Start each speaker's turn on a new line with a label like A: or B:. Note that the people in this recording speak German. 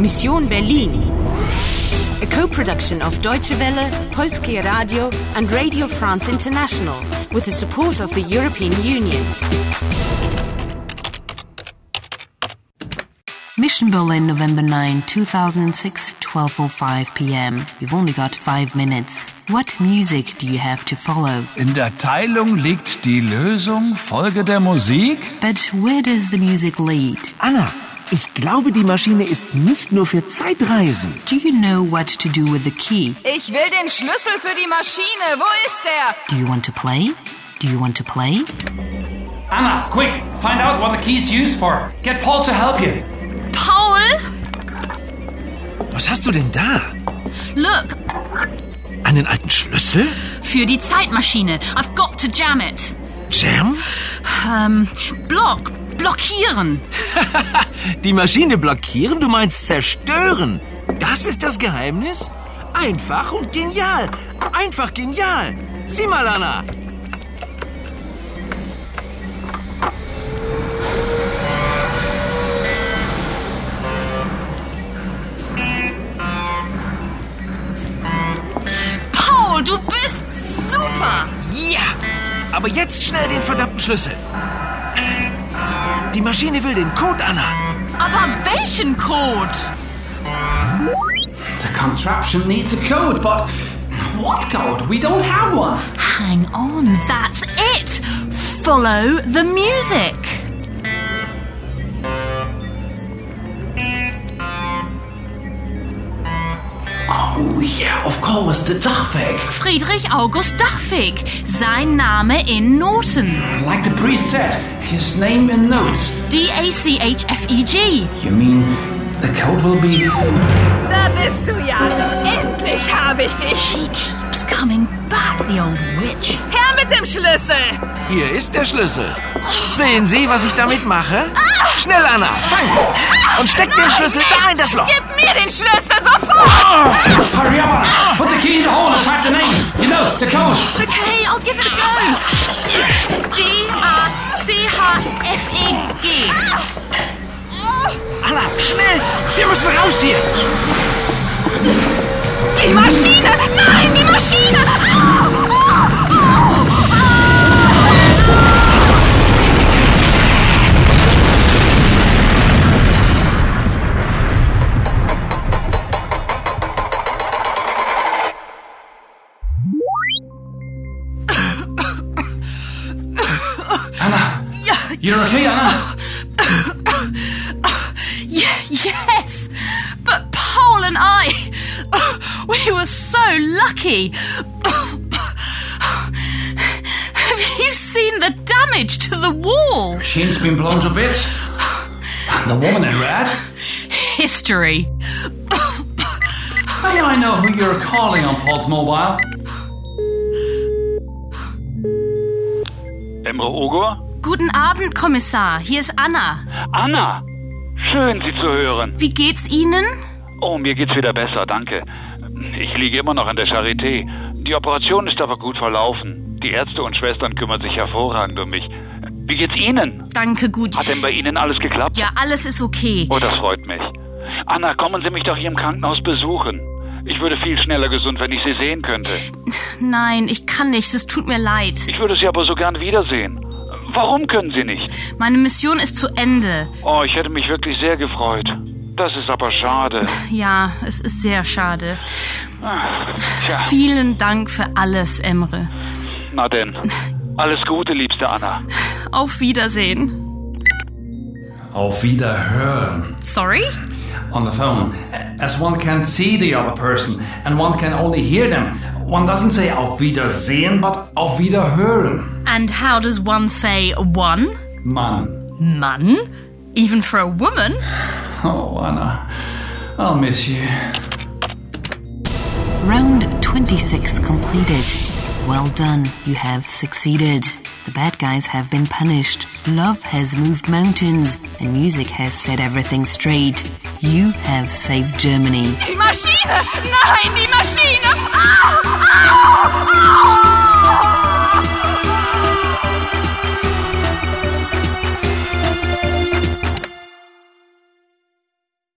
A: Mission Berlin. A co-production of Deutsche Welle, Polskie Radio and Radio France International with the support of the European Union.
B: Mission Berlin, November 9, 2006, 12.05 pm. We've only got five minutes. What music do you have to follow?
C: In der Teilung liegt die Lösung. Folge der Musik.
B: But where does the music lead?
D: Anna, ich glaube, die Maschine ist nicht nur für Zeitreisen.
B: Do you know what to do with the key?
E: Ich will den Schlüssel für die Maschine. Wo ist er?
B: Do you want to play? Do you want to play?
F: Anna, quick! Find out what the key's used for. Get Paul to help you.
G: Paul,
D: Was hast du denn da?
G: look,
D: Einen alten Schlüssel?
G: für die Zeitmaschine. I've got to jam it.
D: Jam?
G: Ähm, block, blockieren.
D: Die Maschine blockieren? Du meinst zerstören? Das ist das Geheimnis? Einfach und genial. Einfach genial. Sieh mal, Anna.
G: Paul, du bist super.
D: Ja. Aber jetzt schnell den verdammten Schlüssel. Die Maschine will den Code, Anna.
G: Aber welchen Code?
F: The contraption needs a code, but what code? We don't have one.
G: Hang on, that's it. Follow the music.
F: Oh yeah, of course, the Dachweg.
G: Friedrich August Dachweg, sein Name in Noten.
F: Like the priest said, his name in notes.
G: E D-A-C-H-F-E-G.
F: You mean the code will be
E: Da bist du ja. Endlich habe ich dich.
G: She keeps coming back, the old witch.
E: Her mit dem Schlüssel.
D: Hier ist der Schlüssel. Sehen Sie, was ich damit mache? Schnell, Anna, fang! Und steck den Schlüssel da in das Loch.
E: Gib mir den Schlüssel sofort.
F: Hurry up! Anna. Put the key in the hole and type the name. You know, the code.
G: Okay, I'll give it a go. D-A-C-H-F-E-G.
D: Oh, Anna, schnell! Wir müssen raus hier!
E: Die Maschine. Nein, die Maschine. Au, au, au.
F: You're okay, Anna?
G: Yeah, yes. But Paul and I, we were so lucky. Have you seen the damage to the wall?
F: Machine's been blown to bits. The woman in red.
G: History.
F: Now I know who you're calling on Paul's mobile.
H: Emre Ogur?
G: Guten Abend, Kommissar. Hier ist Anna.
H: Anna! Schön, Sie zu hören.
G: Wie geht's Ihnen?
H: Oh, mir geht's wieder besser, danke. Ich liege immer noch an der Charité. Die Operation ist aber gut verlaufen. Die Ärzte und Schwestern kümmern sich hervorragend um mich. Wie geht's Ihnen?
G: Danke, gut.
H: Hat denn bei Ihnen alles geklappt?
G: Ja, alles ist okay.
H: Oh, das freut mich. Anna, kommen Sie mich doch hier im Krankenhaus besuchen. Ich würde viel schneller gesund, wenn ich Sie sehen könnte.
G: Nein, ich kann nicht. Es tut mir leid.
H: Ich würde Sie aber so gern wiedersehen. Warum können Sie nicht?
G: Meine Mission ist zu Ende.
H: Oh, ich hätte mich wirklich sehr gefreut. Das ist aber schade.
G: Ja, es ist sehr schade.
H: Ah, Tja.
G: Vielen Dank für alles, Emre.
H: Na denn. Alles Gute, liebste Anna.
G: Auf Wiedersehen.
F: Auf Wiederhören.
G: Sorry?
F: on the phone, as one can't see the other person and one can only hear them. One doesn't say auf Wiedersehen, but auf Wiederhören.
G: And how does one say one?
F: Man.
G: Mann? Even for a woman?
F: Oh, Anna, I'll miss you.
B: Round 26 completed. Well done, you have succeeded. The bad guys have been punished. Love has moved mountains, and music has set everything straight. You have saved Germany.
E: Die Maschine. Nein, die Maschine. Au, au, au.